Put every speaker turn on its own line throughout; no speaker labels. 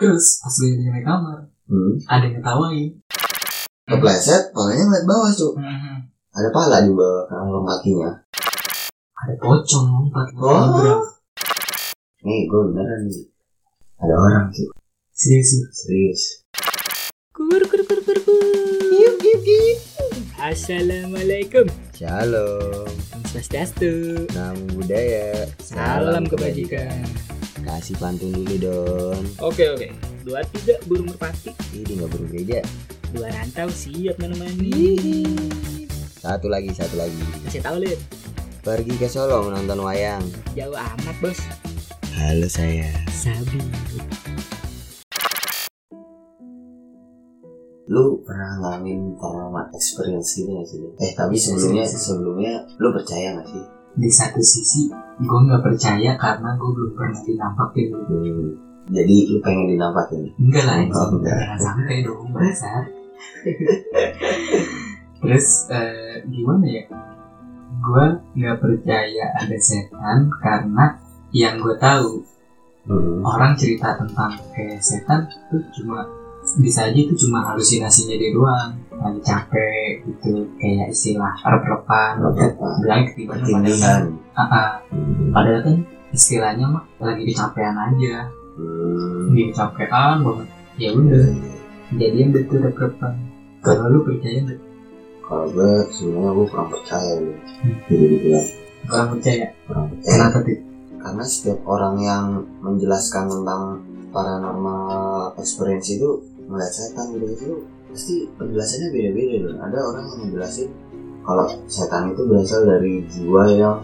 Terus pas gue nyampe kamar,
Hmm.
ada yang ketawain.
Kepleset, palanya ngeliat bawah cu.
Mhm.
Ada pala di bawah kan lom kakinya.
Ada pocong lompat.
Oh.
Nabrak.
Nih gue beneran nih. Ada orang cu.
Serius. lu.
Serius.
Kur kur kur kur kur.
Iya.
Assalamualaikum.
Shalom.
Om Swastiastu.
Namo budaya.
Salam kebajikan.
Kasih pantun dulu don.
Oke oke. Dua tiga burung merpati,
Ini nggak baru gereja.
dua rantau siap menemani.
Satu lagi, satu lagi.
Kasih tahu lihat
Pergi ke Solo menonton wayang.
jauh amat bos.
Halo saya.
Sabi.
Lu pernah ngalamin trauma experience gitu gak sih? Don? Eh tapi sebelumnya sebelumnya lu percaya gak sih?
Di satu sisi, gue nggak percaya karena gue belum pernah dinampakin.
Hmm. Jadi lu pengen dinampakin?
Enggak lah, anjing.
Oh, enggak.
jangan sampai dong bahasa. Terus eh, gimana ya? Gue nggak percaya ada setan karena yang gue tahu
Hmm.
orang cerita tentang kayak setan itu cuma bisa aja itu cuma halusinasinya dia doang lagi capek gitu kayak istilah rep-repan
Apa?
bilang ketiban padahal,
Ketindihan.
Ah, ah.
Hmm.
padahal kan istilahnya mah lagi kecapean aja
Hmm.
lagi kecapean banget ya udah jadi yang betul rep-repan kalau lu percaya nggak
Kalau gue sebenarnya gue kurang percaya gitu.
Hmm.
Jadi gue
orang percaya
kurang percaya.
kenapa tuh
karena setiap orang yang menjelaskan tentang paranormal experience itu melihat setan gitu itu pasti penjelasannya beda-beda dan ada orang yang menjelasin kalau setan itu berasal dari jiwa yang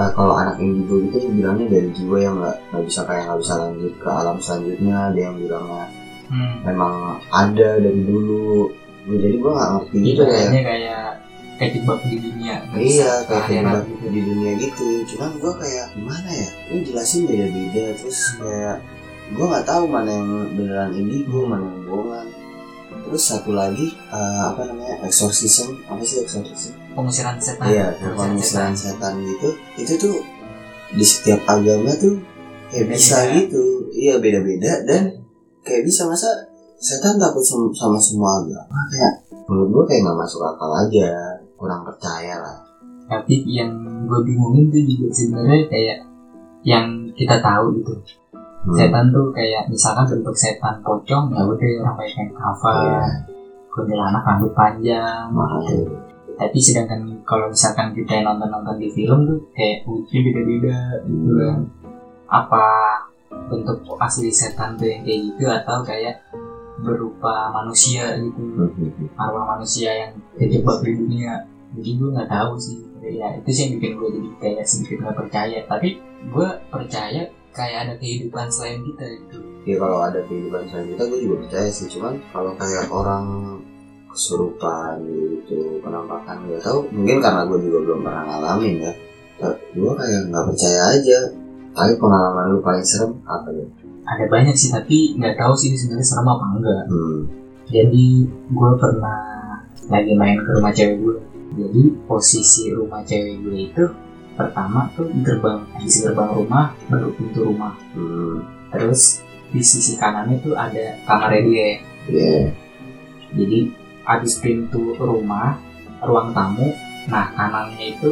eh, kalau anak indigo itu bilangnya dari jiwa yang nggak nggak bisa kayak nggak bisa lanjut ke alam selanjutnya ada yang bilangnya
hmm.
memang ada dari dulu jadi gue nggak ngerti gitu ya
ibaratnya kayak kayak jebak di dunia nggak bisa
Iya, kayak
akhirat
terjebak
gitu.
di dunia gitu. Cuman gue kayak gimana ya? Lu jelasin beda-beda terus kayak gue nggak tahu mana yang beneran indigo, mana yang bohongan. Terus satu lagi eh, apa namanya exorcism? Apa sih exorcism?
pengusiran setan
Iya, pemusnahan setan gitu. Itu tuh di setiap agama tuh kayak bisa
Beda-beda.
gitu. Iya beda-beda dan kayak bisa masa setan takut sem- sama semua agama kayak menurut gue kayak nggak masuk akal aja kurang percaya lah.
tapi yang gue bingungin tuh juga sebenarnya kayak yang kita tahu gitu
Hmm.
setan tuh kayak misalkan bentuk setan pocong ya udah orang pakai kain
Iya.
kafan kuntilanak rambut panjang
Makanya
tapi sedangkan kalau misalkan kita nonton nonton di film tuh kayak wujudnya beda beda gitu kan apa bentuk asli setan tuh yang kayak gitu atau kayak berupa manusia gitu
Hmm.
arwah manusia yang terjebak di dunia jadi gue nggak tahu sih ya itu sih yang bikin gue jadi kayak sedikit nggak percaya tapi gue percaya kayak ada kehidupan selain kita gitu
Ya kalau ada kehidupan selanjutnya gue juga percaya sih Cuman kalau kayak orang kesurupan gitu Penampakan gak tahu Mungkin karena gue juga belum pernah ngalamin ya Gue kayak nggak percaya aja Tapi pengalaman lu paling serem apa ya?
ada banyak sih tapi nggak tahu sih ini sebenarnya serem apa enggak
Hmm.
jadi gue pernah lagi main ke rumah cewek gue jadi posisi rumah cewek gue itu pertama tuh gerbang di gerbang rumah baru pintu rumah
Hmm.
terus di sisi kanannya tuh ada kamarnya dia
Iya.
Jadi abis pintu rumah, ruang tamu, nah kanannya itu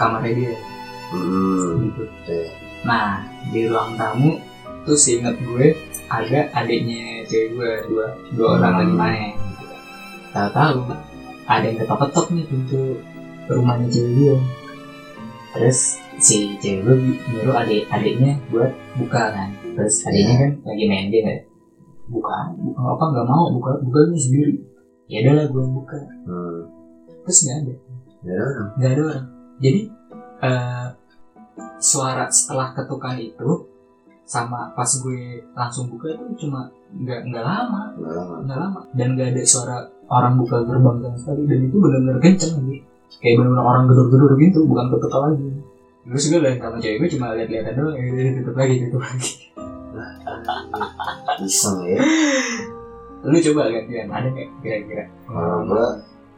kamarnya dia
Hmm.
gitu.
Iya.
Nah di ruang tamu tuh seingat gue ada adiknya cewek gue dua dua orang lagi
Hmm.
main. Gitu. Tahu-tahu ada yang ketok-ketok nih pintu rumahnya cewek gue. Terus si cewek gue bi- nyuruh adik adiknya buat buka kan. Terus adiknya kan lagi main game ya. Buka, buka apa nggak mau buka buka gue sendiri. Ya udahlah gue yang buka.
Hmm.
Terus kan, nggak ada
Ya udah.
nggak ada orang jadi eh, suara setelah ketukan itu sama pas gue langsung buka itu cuma nggak nggak lama
Nggak lama.
nggak lama dan nggak ada suara orang buka gerbang sama sekali dan itu benar-benar kenceng gitu kayak benar-benar orang gedor-gedor gitu bukan ketuk lagi terus gue lihat sama cewek gue cuma lihat-lihat doang ya udah tutup lagi tutup lagi
Iseng ya
lu coba gantian ada nggak kira-kira
Kalau gue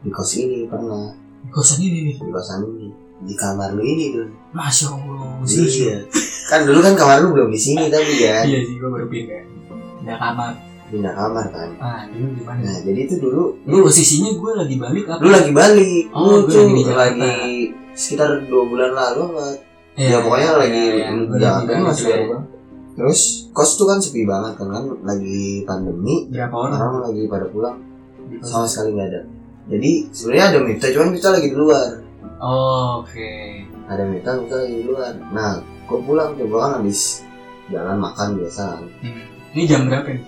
di kos ini pernah
kosan ini nih
Di kosan ini Di kamar lu ini dulu
masya allah serius lu?
Iya Kan dulu kan kamar lu belum di sini tapi kan
iya sih gue baru pindah pindah kamar
pindah kamar kan
ah dulu gimana
nah jadi itu dulu
ini posisinya gue lagi balik apa
lu lagi balik
Oh,
lu
gue
tuh
lagi di Jakarta.
lagi sekitar dua bulan lalu nggak ya, pokoknya lagi
ya, ya,
udah
udah
kan
gitu
masih
ya.
baru banget. terus kos tuh kan sepi banget kan kan lagi pandemi
berapa orang
orang lagi pada pulang
di kos?
sama sekali nggak ada jadi sebenarnya ada Mita cuman kita lagi di luar
oh, oke
ada Mita kita lagi di luar nah gue pulang tuh gue kan habis jalan makan biasa kan
Hmm. ini jam berapa nih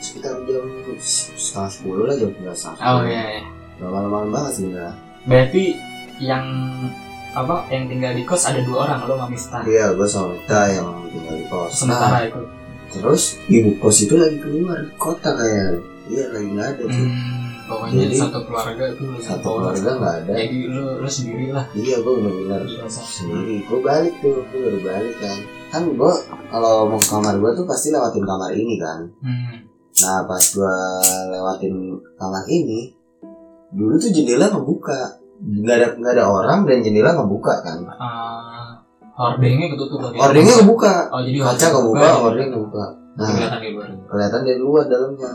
sekitar jam setengah sepuluh lah jam sebelas setengah
oh
sepuluh.
iya, iya.
Udah malam-malam banget sebenarnya
berarti yang apa yang tinggal di kos ada dua orang lo sama Miftah
iya gue sama Mita yang tinggal di kos Nah,
sementara itu
Terus ibu kos itu lagi keluar kota kayak iya lagi nggak ada tuh.
hmm, pokoknya
Jadi,
satu keluarga itu lu
Satu
satu orang
keluarga nggak ada.
jadi lu lu sendiri lah
Iya gue bener-bener sendiri. Gue balik tuh, gue baru balik kan. Kan gue kalau mau ke kamar gue tuh pasti lewatin kamar ini kan.
hmm.
Nah pas gue lewatin kamar ini, dulu tuh jendela ngebuka. Gak ada nggak ada orang dan jendela ngebuka kan.
Eh, hordengnya ketutup lagi
Ordengnya ngebuka,
oh jadi
kaca
hordeng
kebuka,
kebuka,
ordeng ngebuka. Nah
kelihatan di luar
kelihatan dari luar dalamnya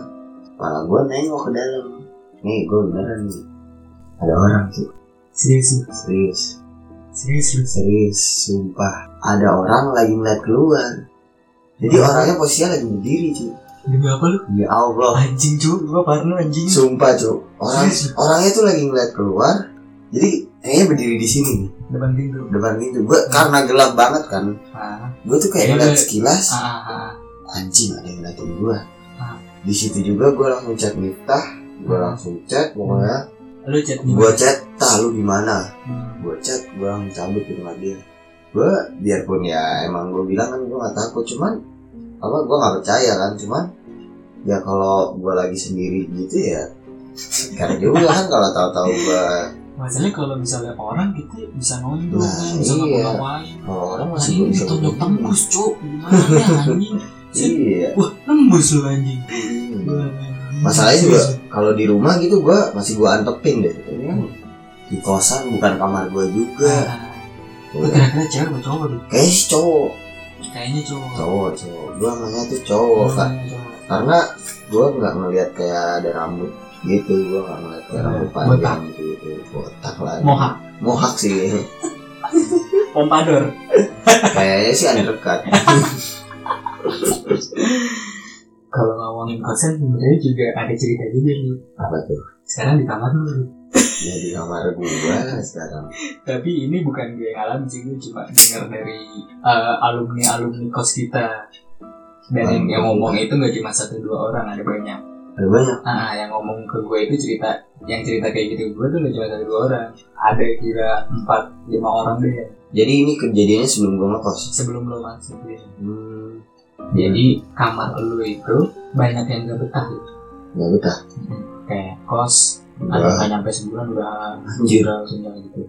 malah gue nengok ke dalam nih gue beneran nih ada orang tuh
serius
serius
serius serius
serius sumpah ada orang lagi ngeliat keluar jadi
Iya.
orangnya posisinya lagi berdiri cuy
demi apa lu
ya Allah
anjing cu gua parno anjing
sumpah cuy orang orangnya tuh lagi ngeliat keluar jadi kayaknya berdiri di sini nih
depan pintu
depan pintu gue
Hmm.
karena gelap banget kan
ah
gue tuh kayak ngeliat sekilas
ah ah
anjing ada yang ngeliatin gue
Ah.
di situ juga gue langsung chat Miftah gue
Hmm.
langsung chat pokoknya
lu chat gimana?
gue chat tah lu gimana
Hmm.
gue chat gue langsung cabut ke rumah dia gue biarpun ya emang gue bilang kan gue gak takut cuman apa gue gak percaya kan cuman ya kalau gue lagi sendiri gitu ya karena juga kan kalau tahu-tahu gue
masalahnya kalau misalnya orang kita bisa nonton
Nah,
kan bisa
iya.
ngapa-ngapain
kalau orang masih
anjing
belum bisa
ditonjok
ngomong.
tembus cu gimana ya, anjing Set.
iya
wah tembus lu anjing
Hmm.
Wah, anjing.
masalahnya juga
Serius.
kalau di rumah gitu gue masih gue antepin deh Ini kan di kosan bukan kamar gue juga
Ah, lu
Udah.
kira-kira cewek atau cowok lu?
kayaknya sih cowok
kayaknya cowok
cowok cowok gue nanya tuh cowok kan
Kayaknya cowok.
karena gue nggak ngelihat kayak ada rambut gitu gue nggak ngelihat kayak rambut
Iya. Botak.
panjang gitu botak lah
mohak
mohak sih
pompadour
kayaknya sih aneh dekat
kalau ngomongin kosan sebenarnya juga ada cerita juga nih
apa tuh
sekarang di kamar lu
ya di kamar gue sekarang
tapi ini bukan gue yang alami sih gue cuma dengar dari alumni alumni kos kita dan yang, yang ngomong itu nggak cuma satu dua orang ada banyak
ada banyak
Ah, yang ngomong ke gue itu cerita yang cerita kayak gitu gue tuh udah cuma satu dua orang. Ada kira empat lima orang deh ya,
jadi ini kejadiannya sebelum gue ngekos
sebelum lo masuk deh.
hmm,
Jadi kamar lo itu banyak yang gak betah gitu.
nggak betah
Kayak kos, ada
Udah.
nggak nyampe sebulan udah
anjir
udah tinggal gitu.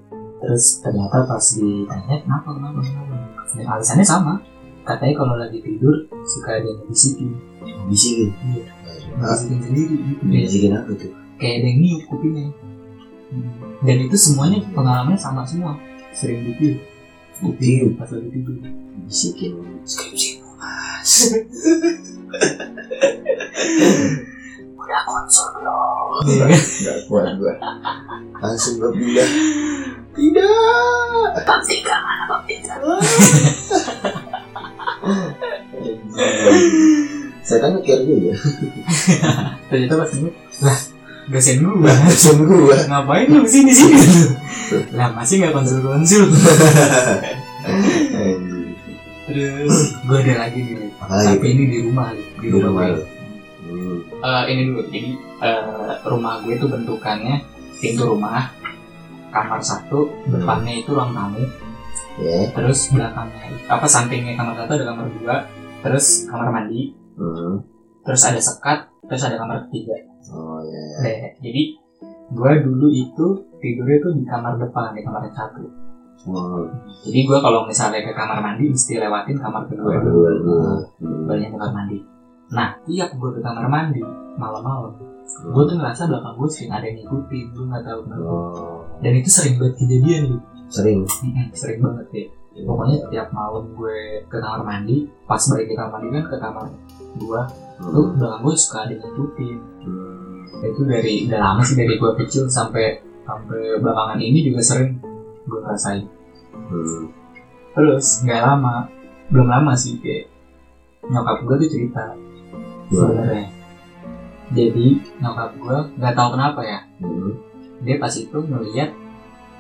Terus ternyata pas ditanya kenapa kenapa kenapa, Dan alasannya sama. Katanya kalau lagi tidur suka ada yang bisikin,
bisikin
Iya.
Ah,
bisikin sendiri gitu.
bisikin apa tuh
kayak ada yang niup kupingnya dan itu semuanya pengalamannya sama semua sering ditiup
Ditiup.
pas lagi tidur
bisikin skripsi mas
Iya kan?
nggak kuat gue langsung gue pindah tidak
bab tiga mana bab tiga
Setan kan mikir juga
ternyata pas ini lah dosen gua
Langsung gua
ngapain lu sini sini lah masih nggak konsul konsul
Anjing.
terus gua ada lagi nih tapi
Apalagi
ini di rumah di
di
rumah
rumah
gue
lu Hmm.
Eh, ini dulu jadi eh, rumah gue itu bentukannya pintu rumah kamar satu depannya itu ruang tamu
Ya
terus belakangnya apa sampingnya kamar satu ada kamar dua terus kamar mandi
Hmm.
terus ada sekat terus ada kamar ketiga
Oh ya
Nah, jadi gua dulu itu tidurnya tuh di kamar depan di kamar satu
Mau
jadi gua kalau misalnya ke kamar mandi mesti lewatin kamar kedua
dua
dulu
dua dua. Hmm.
baliknya ke kamar mandi nah tiap gua ke kamar mandi malam-malam gua tuh ngerasa belakang gua sering ada yang ngikutin gua nggak tahu kenapa
Oh.
dan itu sering banget kejadian gitu
Sering
Mm-mm, sering banget ya Ya, pokoknya tiap malam gue ke kamar mandi pas balik ke kamar mandi kan ke kamar gue tuh
Hmm.
belakang gue suka ada ngikutin
Hmm.
itu dari udah lama sih dari gue kecil sampai sampai belakangan ini juga sering gue rasain
Hmm.
terus nggak lama belum lama sih kayak nyokap gue tuh cerita sebenarnya jadi nyokap gue nggak tahu kenapa ya
Hmm.
dia pas itu melihat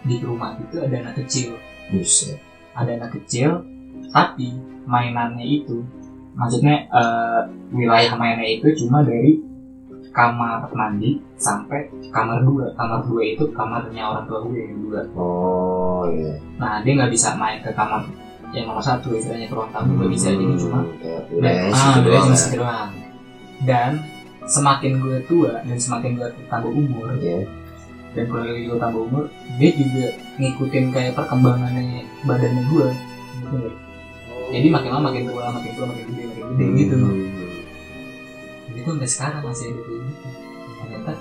di rumah itu ada anak kecil
Buset.
ada anak kecil tapi mainannya itu maksudnya eh, wilayah mainnya itu cuma dari kamar mandi sampai kamar dua kamar dua itu kamarnya orang tua gue yang dua
Oh iya.
nah dia nggak bisa main ke kamar yang nomor satu istilahnya ke ruang tamu nggak bisa
Hmm.
jadi cuma
kayak
dan,
wilayahnya
ah,
situ
wilayah
doang
cuma
ya.
situ doang. dan semakin gue tua dan semakin gue tambah umur
Iya.
dan kurang lebih gue tambah umur dia juga ngikutin kayak perkembangannya badannya gue Gitu nggak? jadi makin lama makin tua makin tua makin gede makin gede gitu
Hmm.
jadi tuh sampai sekarang masih ada kayak gitu ternyata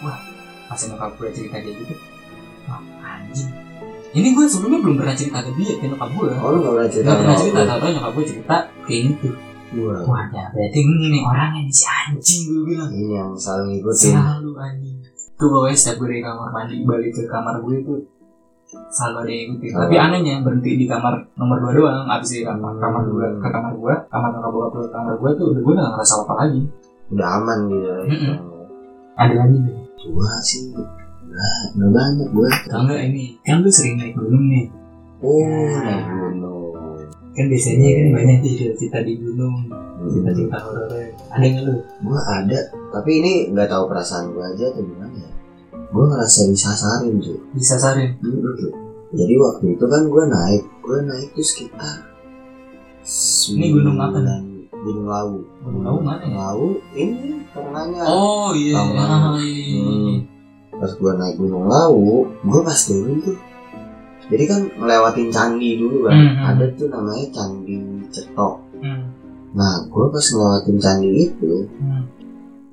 wah masih nyokap gue cerita kayak gitu wah anjing ini gue sebelumnya belum pernah cerita ke dia ke nyokap gue
Oh lu nggak pernah cerita
Gak pernah
sama
cerita,
aku?
tau tau nyokap gue cerita kayak gitu
Wah,
Wah ya berarti ini orangnya nih si anjing gue bilang
Ini yang selalu ngikutin.
selalu anjing tuh pokoknya setiap gue dari kamar mandi balik ke kamar gue tuh selalu ada yang ngikutin tapi
Oh.
anehnya berhenti di kamar nomor dua doang abis dari kamar
Hmm.
kamar gue ke kamar gue kamar nyokap bokap gue ke kamar gue tuh udah gue udah gak ngerasa apa lagi
Udah aman gitu.
Mm-mm. ada lagi nih
Gua sih. Nah, udah banyak gua.
kalau enggak ini kan lu sering naik gunung nih
Oh,
Nah.
naik gunung.
kan biasanya
Iya,
kan banyak tuh cerita-cerita di gunung
Hmm.
cerita-cerita horor ada nggak lu
Gua ada, tapi ini nggak tahu perasaan gua aja atau gimana ya. Gua ngerasa disasarin tuh.
bisa sarin
Jadi waktu itu kan gue naik, gue naik tuh sekitar
Ini gunung apa nih?
Gunung Lawu.
Gunung Lawu mana ya?
Lawu ini karenanya.
oh iya
Tahu kan?
Ah, iya, iya, iya.
Hmm. Pas gue naik Gunung Lawu, gue pas turun tuh. Jadi kan ngelewatin candi dulu kan,
Mhm.
ada tuh namanya Candi Cetok.
Hmm.
Nah, gue pas ngelewatin candi itu,
Hmm.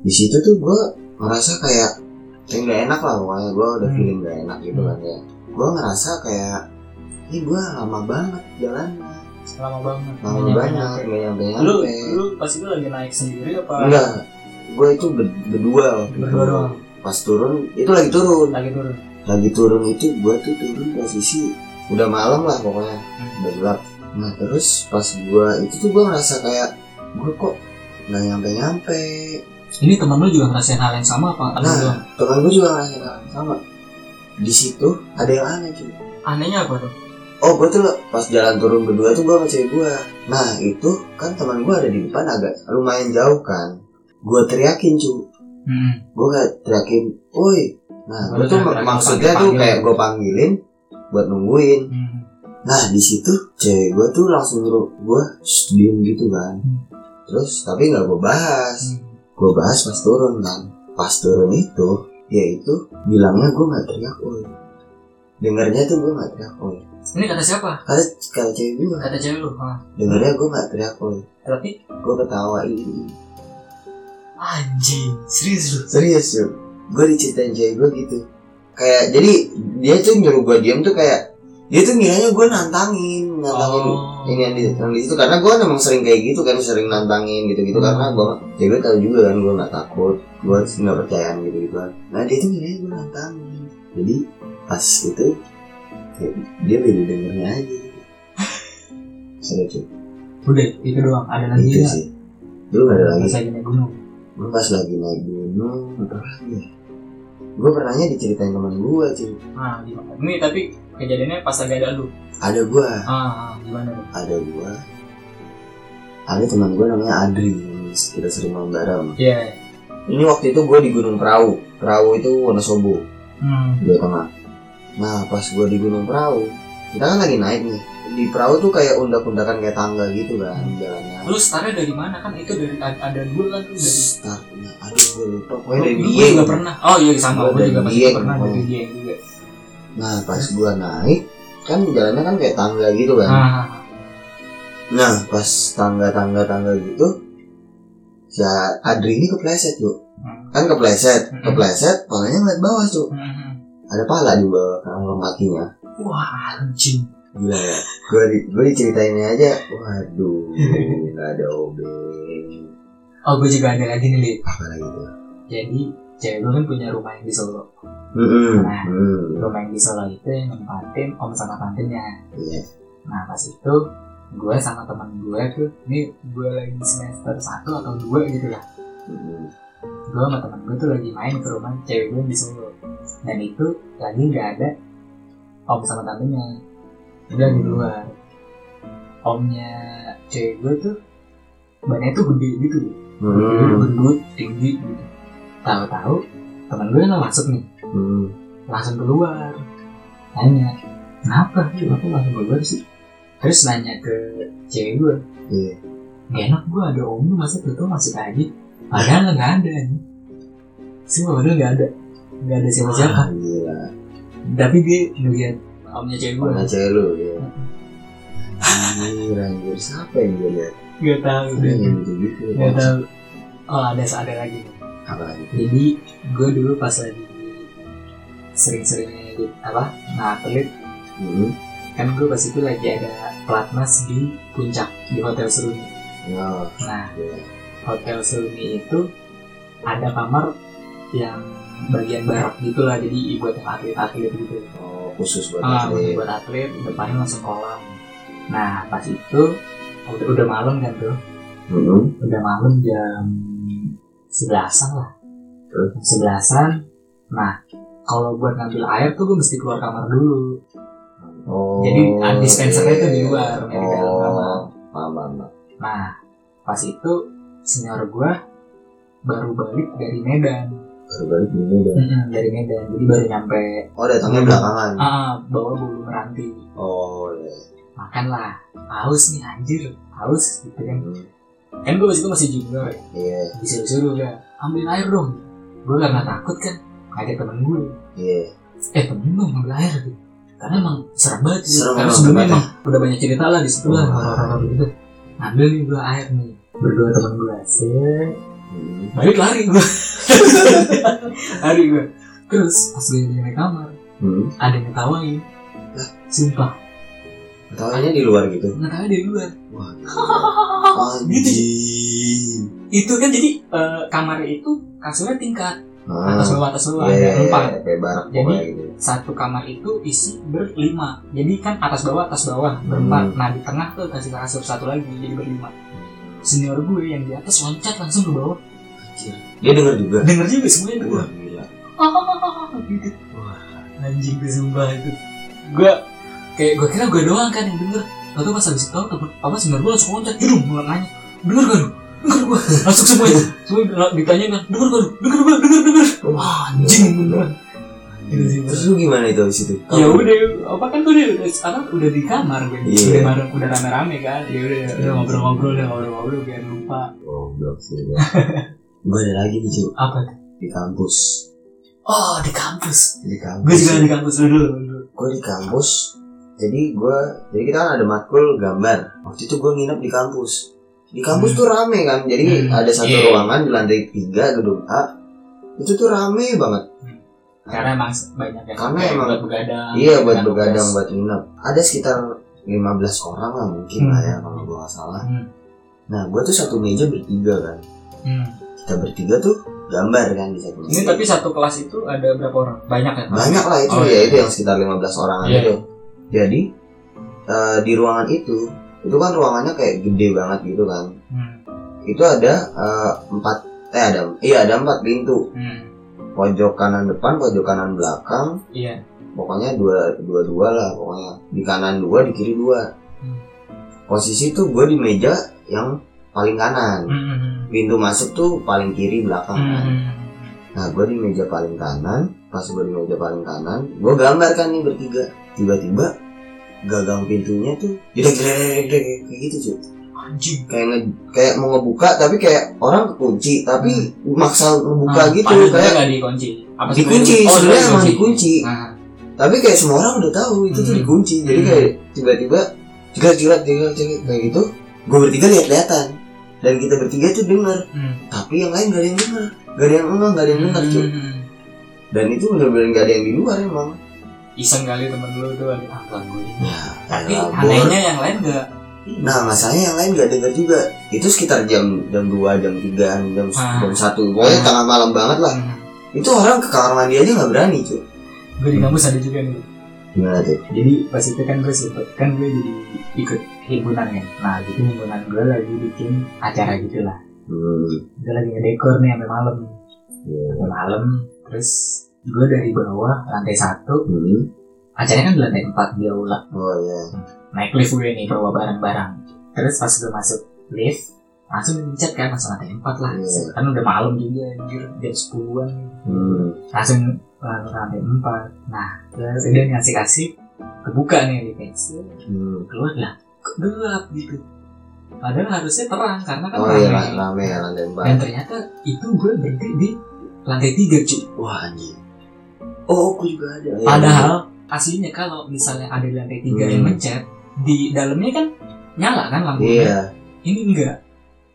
di situ tuh gue ngerasa kayak kayak nggak enak lah pokoknya gue udah
Hmm.
feeling nggak enak gitu
Hmm.
kan ya gue ngerasa kayak ini gue lama banget jalannya
lama banget
lama
Nggak nyampe-
banget nggak nyampe
lu
nyampe
lu pas itu lagi naik sendiri apa
eh, enggak gue itu ber- berdua waktu itu.
berdua doang
pas turun itu lagi turun
lagi turun
lagi turun itu gue tuh turun posisi udah malam lah pokoknya
Hmm.
udah gelap nah terus pas gue itu tuh gue ngerasa kayak gue kok nggak nyampe nyampe
ini teman lu juga ngerasain hal yang sama apa Ada
Nah.
doang
teman gue juga ngerasain hal yang sama di situ ada yang aneh cuy
anehnya apa tuh
Oh gue tuh loh, pas jalan turun berdua tuh gue sama cewek gue Nah itu kan teman gue ada di depan agak lumayan jauh kan Gue teriakin cu
hmm.
Gue kayak teriakin Woi Nah
Baru
gue tuh
teriak-teriak,
maksudnya tuh
panggil-panggil.
kayak gue panggilin Buat nungguin
Hmm.
Nah di situ cewek gue tuh langsung nyuruh gue "Shh, diem gitu kan
Hmm.
Terus tapi gak gue bahas Gue bahas pas turun kan Pas turun itu Yaitu bilangnya gue gak teriak oi Dengarnya tuh gue gak teriak oi
ini kata siapa
Kata, kata cewek gue
kata cewek lu ah.
dengarnya gue gak teriak oi
tapi
gue ketawa ini
anjing serius lu
serius yuk gue diceritain cewek gue gitu kayak jadi dia tuh nyuruh gue diam tuh kayak dia tuh ngiranya gue nantangin nantangin
Oh.
ini yang Iya, di yang di situ karena gue emang sering kayak gitu kan sering nantangin gitu gitu karena gue ya gue tahu juga kan gue nggak takut gue nggak percayaan gitu gitu nah dia tuh ngiranya gue nantangin jadi pas itu kayak dia baru dengernya aja gitu. serius yuk.
udah itu doang ada lagi
gitu
ya
sih lu gak ada lagi
lagi naik gunung
gue pas lagi naik gunung apa lagi ya gue pernahnya diceritain teman gue cuy
ah gimana ini tapi kejadiannya pas lagi ada lu
ada gue
ah ah, gimana tuh
ada gue ada teman gue namanya Adri yang kita sering main bareng
iya
ini waktu itu gue di Gunung Perahu Perahu itu Wonosobo
hmm.
Jawa Tengah nah pas gue di Gunung Perahu kita kan lagi naik nih di perahu tuh kayak undak-undakan kayak tangga gitu kan jalannya
lu startnya dari mana kan itu dari a- ada dua kan lu dari
startnya nah, aduh gue lupa
Lu-
pokoknya gitu. dari
lu Oh,
Dieng.
iya, juga pernah oh iya sama
Gua
gue
dari
juga pasti
Dieng.
pernah dari
Oh.
dia juga
nah pas gue naik kan jalannya kan kayak tangga gitu kan
ah
Nah, pas tangga-tangga-tangga gitu, si Adri ini kepleset tuh.
Hmm.
Kan kepleset,
Mm-mm.
kepleset, palanya ngeliat bawah tuh.
Hmm.
Ada pala di bawah kan, kakinya.
Wah anjing
Gila ya. Gue di, gua diceritainnya aja. Waduh, nggak ada OB.
oh gue juga ada lagi nih Lip
Apa lagi tuh?
jadi cewek gue kan punya rumah yang di Solo
Hmm,
Nah.
hmm,
rumah yang di Solo itu yang nempatin om sama tantenya
iya.
nah pas itu gue sama teman gue tuh ini gue lagi semester 1 atau 2 gitu lah
Hmm.
gue sama temen gue tuh lagi main ke rumah cewek gue yang di Solo dan itu lagi nggak ada om sama tantenya dia lagi di luar omnya cewek gue tuh badannya tuh gede gitu
Hmm,
gendut tinggi gitu tahu-tahu temen gue nggak masuk nih
hmm.
langsung keluar nanya kenapa Gitu, kenapa langsung keluar sih terus nanya ke cewek gue
Iya.
gak enak gue ada om lu, masa tuh tuh masuk lagi gitu." padahal nggak ada nih semua padahal nggak ada nggak ada siapa-siapa
Ah, Gila.
tapi dia ngeliat omnya cewek gue
Mana cewek lu ya? Anjir, anjir. Siapa yang gue liat?
nggak tahu
Ada yang gitu gitu.
nggak tahu oh ada ada lagi
Apa lagi?
jadi gue dulu pas lagi sering-seringnya gitu, apa nah pelit
Hmm.
kan gue pas itu lagi ada pelatnas di puncak di hotel seruni
Nah,
Nah,
Iya.
hotel Seruni itu ada kamar yang bagian barak gitulah, jadi buat yang atlet-atlet gitu.
oh, khusus buat
Ah,
atlet.
buat atlet, depannya langsung kolam. Nah, pas itu udah, udah malam kan tuh,
Hmm.
udah malam jam sebelasan lah,
Terus?
Jam sebelasan. Nah, kalau buat ngambil air tuh gue mesti keluar kamar dulu.
Oh.
Jadi, ah, dispensernya itu di
iya.
luar, nggak di dalam kamar.
Oh, paham, paham, paham.
Nah, pas itu senior gue baru balik dari Medan.
Baru balik di Medan.
Mm-mm, dari Medan jadi baru nyampe
Oh, datangnya
Hmm.
belakangan.
ah bawa bulu meranti
Oh, iya.
makanlah haus nih anjir haus gitu kan
Hmm.
kan gue waktu itu masih junior ya
Iya,
disuruh suruh gak ambil air dong gue gak, nggak takut kan kaget temen gue
iya.
eh temen gue ambil air gitu karena emang serem banget sih.
Serem
karena
banget,
sebelumnya
banget.
emang udah banyak cerita lah di situ lah
Hmm.
horor-horor gitu ambil nih gue air nih berdua temen gue set
Hmm.
balik lari gue lari gue terus pas gue nyampe kamar
Hmm.
ada yang ngetawain sumpah
Ketawanya di luar gitu.
ngetawain dari luar
Wah.
Gitu.
Anjing.
itu kan jadi eh, kamar itu kasurnya tingkat
Ah.
atas bawah atas bawah
Iya, iya,
ada
iya.
empat
Kayak barak
Jadi,
pokoknya gitu.
satu kamar itu isi berlima jadi kan atas bawah atas bawah berempat nah di tengah tuh kasih kasur satu lagi jadi berlima senior gue yang di atas loncat langsung ke bawah
Anjir. Dia denger juga.
denger juga semuanya denger
Wah, gila.
gitu anjing gue sumpah itu gue kayak gue kira gue doang kan yang denger lalu pas habis itu temen apa sebenarnya gue langsung loncat judung gue nanya denger gak lu denger gue langsung semuanya semua ditanya kan denger gak lu denger gue denger denger wah anjing beneran Gitu sih,
Terus lu gimana itu abis itu?
ya udah apa kan gue udah apa udah di kamar gue
Oh. Iya.
udah bareng udah rame-rame kan ya udah udah ngobrol-ngobrol udah ngobrol-ngobrol biar lupa
Goblok sih ya. Gue ada lagi nih cuy
apa tuh?
di kampus.
oh di kampus
Di kampus.
gue juga di kampus dulu dulu
Gue di kampus. Jadi gue, jadi kita kan ada matkul gambar. Waktu itu gue nginep di kampus. Di kampus
Hmm.
tuh rame kan. Jadi
Hmm,
ada satu
iya.
ruangan di lantai tiga gedung A. Itu tuh rame banget.
karena emang banyak yang
Karena
kayak
emang-
buat begadang
Iya buat
begadang
begadang
tugas.
buat nginep. Ada sekitar 15 orang lah mungkin
Hmm.
lah ya kalau gue gak salah.
Hmm.
Nah gue tuh satu meja bertiga kan.
Hmm.
Kita bertiga tuh gambar kan di satu meja.
Ini tapi satu kelas itu ada berapa orang? Banyak ya?
banyak lah itu
Oh,
ya
iya.
itu yang sekitar 15 orang
Iya,
itu. Jadi eh, di ruangan itu itu kan ruangannya kayak gede banget gitu kan.
Hmm.
Itu ada eh, empat eh ada iya ada empat pintu
Hmm.
pojok kanan depan pojok kanan belakang
Iya.
pokoknya dua dua dua lah pokoknya di kanan dua di kiri dua
Hmm.
posisi tuh gue di meja yang paling kanan
Hmm.
pintu masuk tuh paling kiri belakang kan.
Hmm.
nah gue di meja paling kanan pas gue di meja paling kanan gue gambar kan nih bertiga tiba-tiba gagang pintunya tuh jedek jedek, jedek, jedek, kayak gitu cuy
Anjing.
kayak nge- kayak mau ngebuka tapi kayak orang kekunci tapi
Hmm.
maksa ngebuka
Ah,
gitu
padahal
kayak
sebenarnya nggak dikunci. Apa sih? Oh,
Dikunci, sebenarnya emang dikunci.
Ah.
tapi kayak semua orang udah tahu itu tuh
Hmm.
dikunci jadi
Hmm.
kayak tiba-tiba jelas jelas jelas jelas kayak gitu gue bertiga lihat lihatan dan kita bertiga tuh dengar
Hmm.
tapi yang lain gak ada yang dengar gak ada yang enggak gak ada yang dengar cuy
Hmm.
dan itu bener-bener gak ada yang di luar emang
iseng kali temen lu tuh ada ah gangguin
Ya,
tapi
elah, Bor.
anehnya yang lain gak
Nah masalahnya yang lain gak dengar juga Itu sekitar jam jam 2, jam 3, jam,
Ah.
jam 1
Ah.
Pokoknya tengah malam banget lah Itu orang ke kamar mandi aja gak berani cuy
gue di kampus ada juga nih
Gimana tuh?
jadi pas itu kan gue sempet kan gue jadi ikut himpunan kan nah jadi himpunan gue lagi bikin acara gitu lah
Hmm,
gue lagi ngedekor nih sampai malam
Iya.
sampai malam terus gue dari bawah lantai satu
hmm.
acaranya kan di lantai empat di aula
Oh iya
naik lift gue nih bawa barang-barang terus pas gue masuk lift langsung mencet kan langsung lantai empat lah
Iya.
kan udah malam juga anjir jam sepuluhan
hmm.
langsung langsung lantai empat nah terus udah ngasih kasih kebuka nih liftnya
hmm.
keluar lah kok gelap gitu padahal harusnya terang karena kan
Oh
rame.
iya ra- rame ya lantai
dan
4
ternyata itu gue berhenti di lantai tiga cuy
Wah anjing Oh aku juga ada Ya,
padahal aslinya kalau misalnya ada di lantai tiga
Hmm.
yang mencet di dalamnya kan nyala kan lampunya
Iya
ini enggak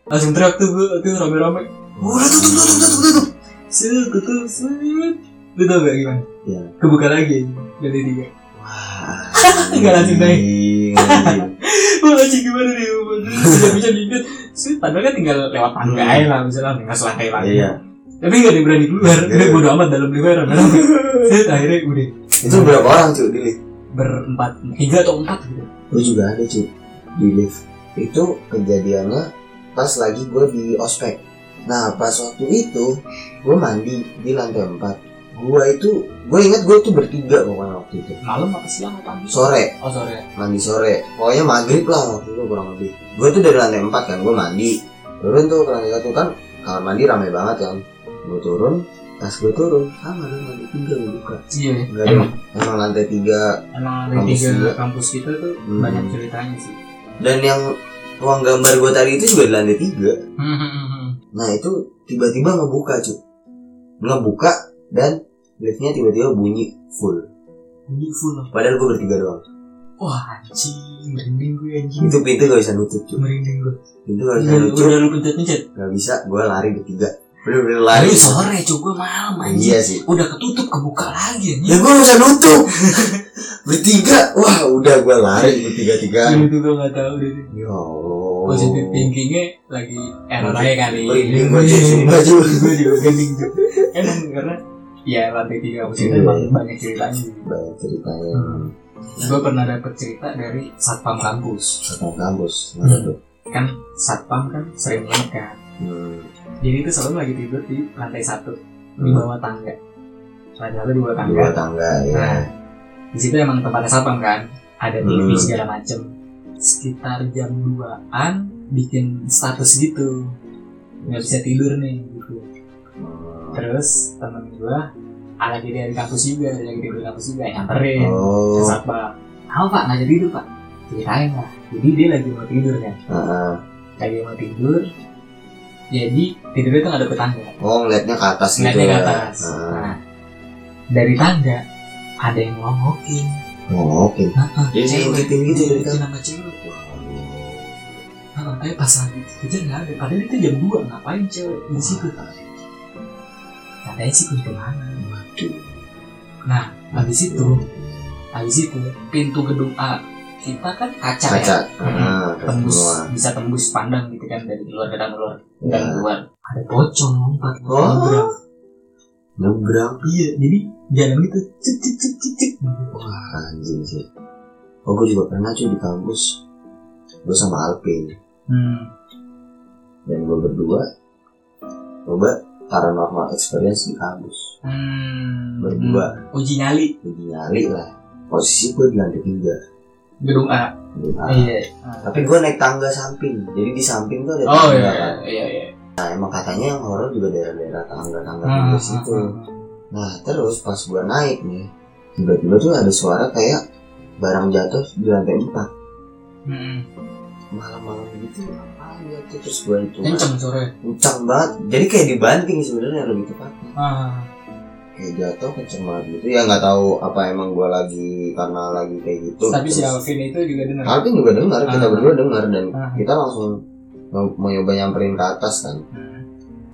langsung teriak tuh gue tuh rame-rame Oh, udah tutup tutup tutup tutup set tutup set lu tau gak gimana
Iya.
kebuka lagi lantai tiga
Wah
Nggak lanjut naik.
anjing, anjing.
Wah anjing gimana nih Tidak bisa diingat Sih, Padahal kan tinggal lewat tangga
Hmm.
aja lah Misalnya tinggal selantai lagi
Iya
Tapi gak ada yang berani keluar
Iya.
Udah bodo amat dalam luar Set akhirnya udah
Itu berapa orang cuy di lift?
Berempat Tiga atau empat gitu
Gue juga ada cuy di lift. Itu kejadiannya pas lagi gue di ospek. Nah pas waktu itu gue mandi di lantai 4 Gue itu gue inget gue tuh bertiga pokoknya waktu itu.
Malam apa siang apa pagi
Sore
Oh sore
mandi sore. Pokoknya maghrib lah waktu itu kurang lebih. Gue tuh dari lantai 4 kan gue mandi. Turun tuh ke lantai satu kan kamar mandi ramai banget kan. Gue turun pas gue turun sama dong lantai tiga gue buka.
Iya
Enggak ada.
Emang
Emang lantai tiga
Emang ada
Kampus juga.
tiga kampus kita tuh
Hmm.
Banyak ceritanya sih
dan yang ruang gambar gue tadi itu juga di lantai tiga.
Hmm,
Nah itu tiba-tiba ngebuka cuy Ngebuka dan liftnya tiba-tiba bunyi full
Ini full lah
Padahal gue bertiga doang
Wah anjing Merinding gue anjing
Itu pintu gak bisa nutup cuy
Merinding gue
Pintu gak bisa
Udah
nutup
udah lu pencet-pencet
Gak bisa gue lari bertiga Bener-bener lari
Lari sore cuy gue malam anjing
Iya sih
Udah ketutup kebuka lagi anjing
Ya gue gak bisa nutup Bertiga Wah udah gue lari
Dulu
bertiga-tigaan
tuh gue gak tau deh
Ya Allah
Positive thinkingnya lagi error aja kali
Merinding gua, cuy, sumpah, cuy.
Gue juga merinding cuy Emang karena Ya lantai tiga kampus itu
Iya.
emang banyak ceritanya
Banyak ceritanya
Hmm. Gue pernah dapet cerita dari Satpam kampus
Tentang kampus Mana
Hmm.
tuh?
Kan Satpam kan sering banget kan
Hmm.
Jadi itu selalu lagi tidur di lantai satu Di
Hmm.
bawah tangga Lantai satu di bawah
Di bawah
tangga
Hmm, tangga ya
Nah di situ emang tempatnya Satpam kan Ada TV
Hmm.
segala macem Sekitar jam 2an Bikin status gitu nggak bisa tidur nih gitu
Hmm.
terus temen gua ada lagi dari kampus juga ada lagi dari kampus juga yang nganterin ke
Oh
satpam tahu pak nggak jadi tidur pak ceritain lah jadi dia lagi mau tidur kan
Ah, ah.
lagi mau tidur jadi tidurnya tuh nggak dapet tangga
Oh ngeliatnya ke atas gitu
ngeliatnya ke
ya.
atas
Ah.
nah dari tangga ada yang ngomongin
Ngokin. Oh,
Ah,
Jadi diintipin gitu dari
kan sama cewek Nah, makanya pas lagi kejar nggak ada padahal itu jam 2 ngapain cewek di situ
iya.
katanya sih kuntilanak
Waduh.
nah habis itu habis itu pintu gedung A kita kan kaca,
Kaca.
ya
Ah, kaca
tembus
semua.
bisa tembus pandang gitu kan dari luar ke dalam luar
Ya.
dan luar ada pocong lompat
Oh.
nyebrang.
Nyebrang.
iya jadi jalan gitu cek cek cek cek cek
Wah, anjing sih. Oh, gue juga pernah cuy di kampus. Gue sama Alvin
hmm.
dan gue berdua coba paranormal experience di kampus.
Hmm.
Berdua.
Hmm. uji nyali
Jadi nyali lah. Posisi gue di lantai tiga.
gedung A
Di atas.
iya
Tapi gue naik tangga samping. Jadi di samping tuh ada
oh
tangga.
iya
kan.
iya iya
Nah, emang katanya yang horor juga daerah-daerah tangga-tangga
Ah, ah,
di situ.
ah.
Nah terus pas gua naik nih Tiba-tiba tuh ada suara kayak Barang jatuh di lantai 4
Hmm.
Malam-malam gitu apaan jatuh Terus gua itu
kenceng sore
kencang banget Jadi kayak dibanting sebenarnya lebih tepatnya
ah
Kayak jatuh kencang banget gitu Ya nggak tahu apa emang gua lagi Karena lagi kayak gitu
tapi si
Terus-
Alvin itu juga dengar
Alvin juga dengar Kita
Ah.
berdua dengar Dan
Ah.
kita langsung mau mau nyoba nyamperin ke atas kan
Hmm.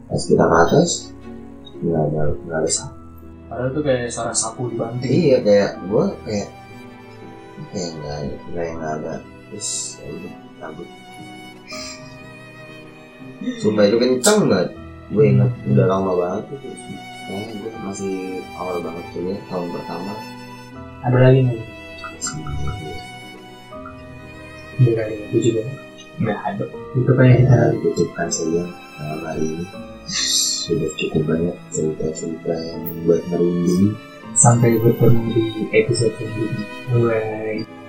Pas kita ke atas Nggak ada, nggak ada siapa.
padahal tuh kayak suara sapu dibanting
iya kayak gue kayak kayak nggak kayak nggak ada terus ya udah cabut sumpah itu kenceng banget gue inget udah lama banget tuh terus kayaknya gue masih awal banget kuliah tahun pertama
ada lagi nih Dia kali itu juga nggak ada itu kayak kita
kita tutupkan saja malam hari ini sudah cukup banyak cerita-cerita yang buat merinding
sampai bertemu di episode selanjutnya bye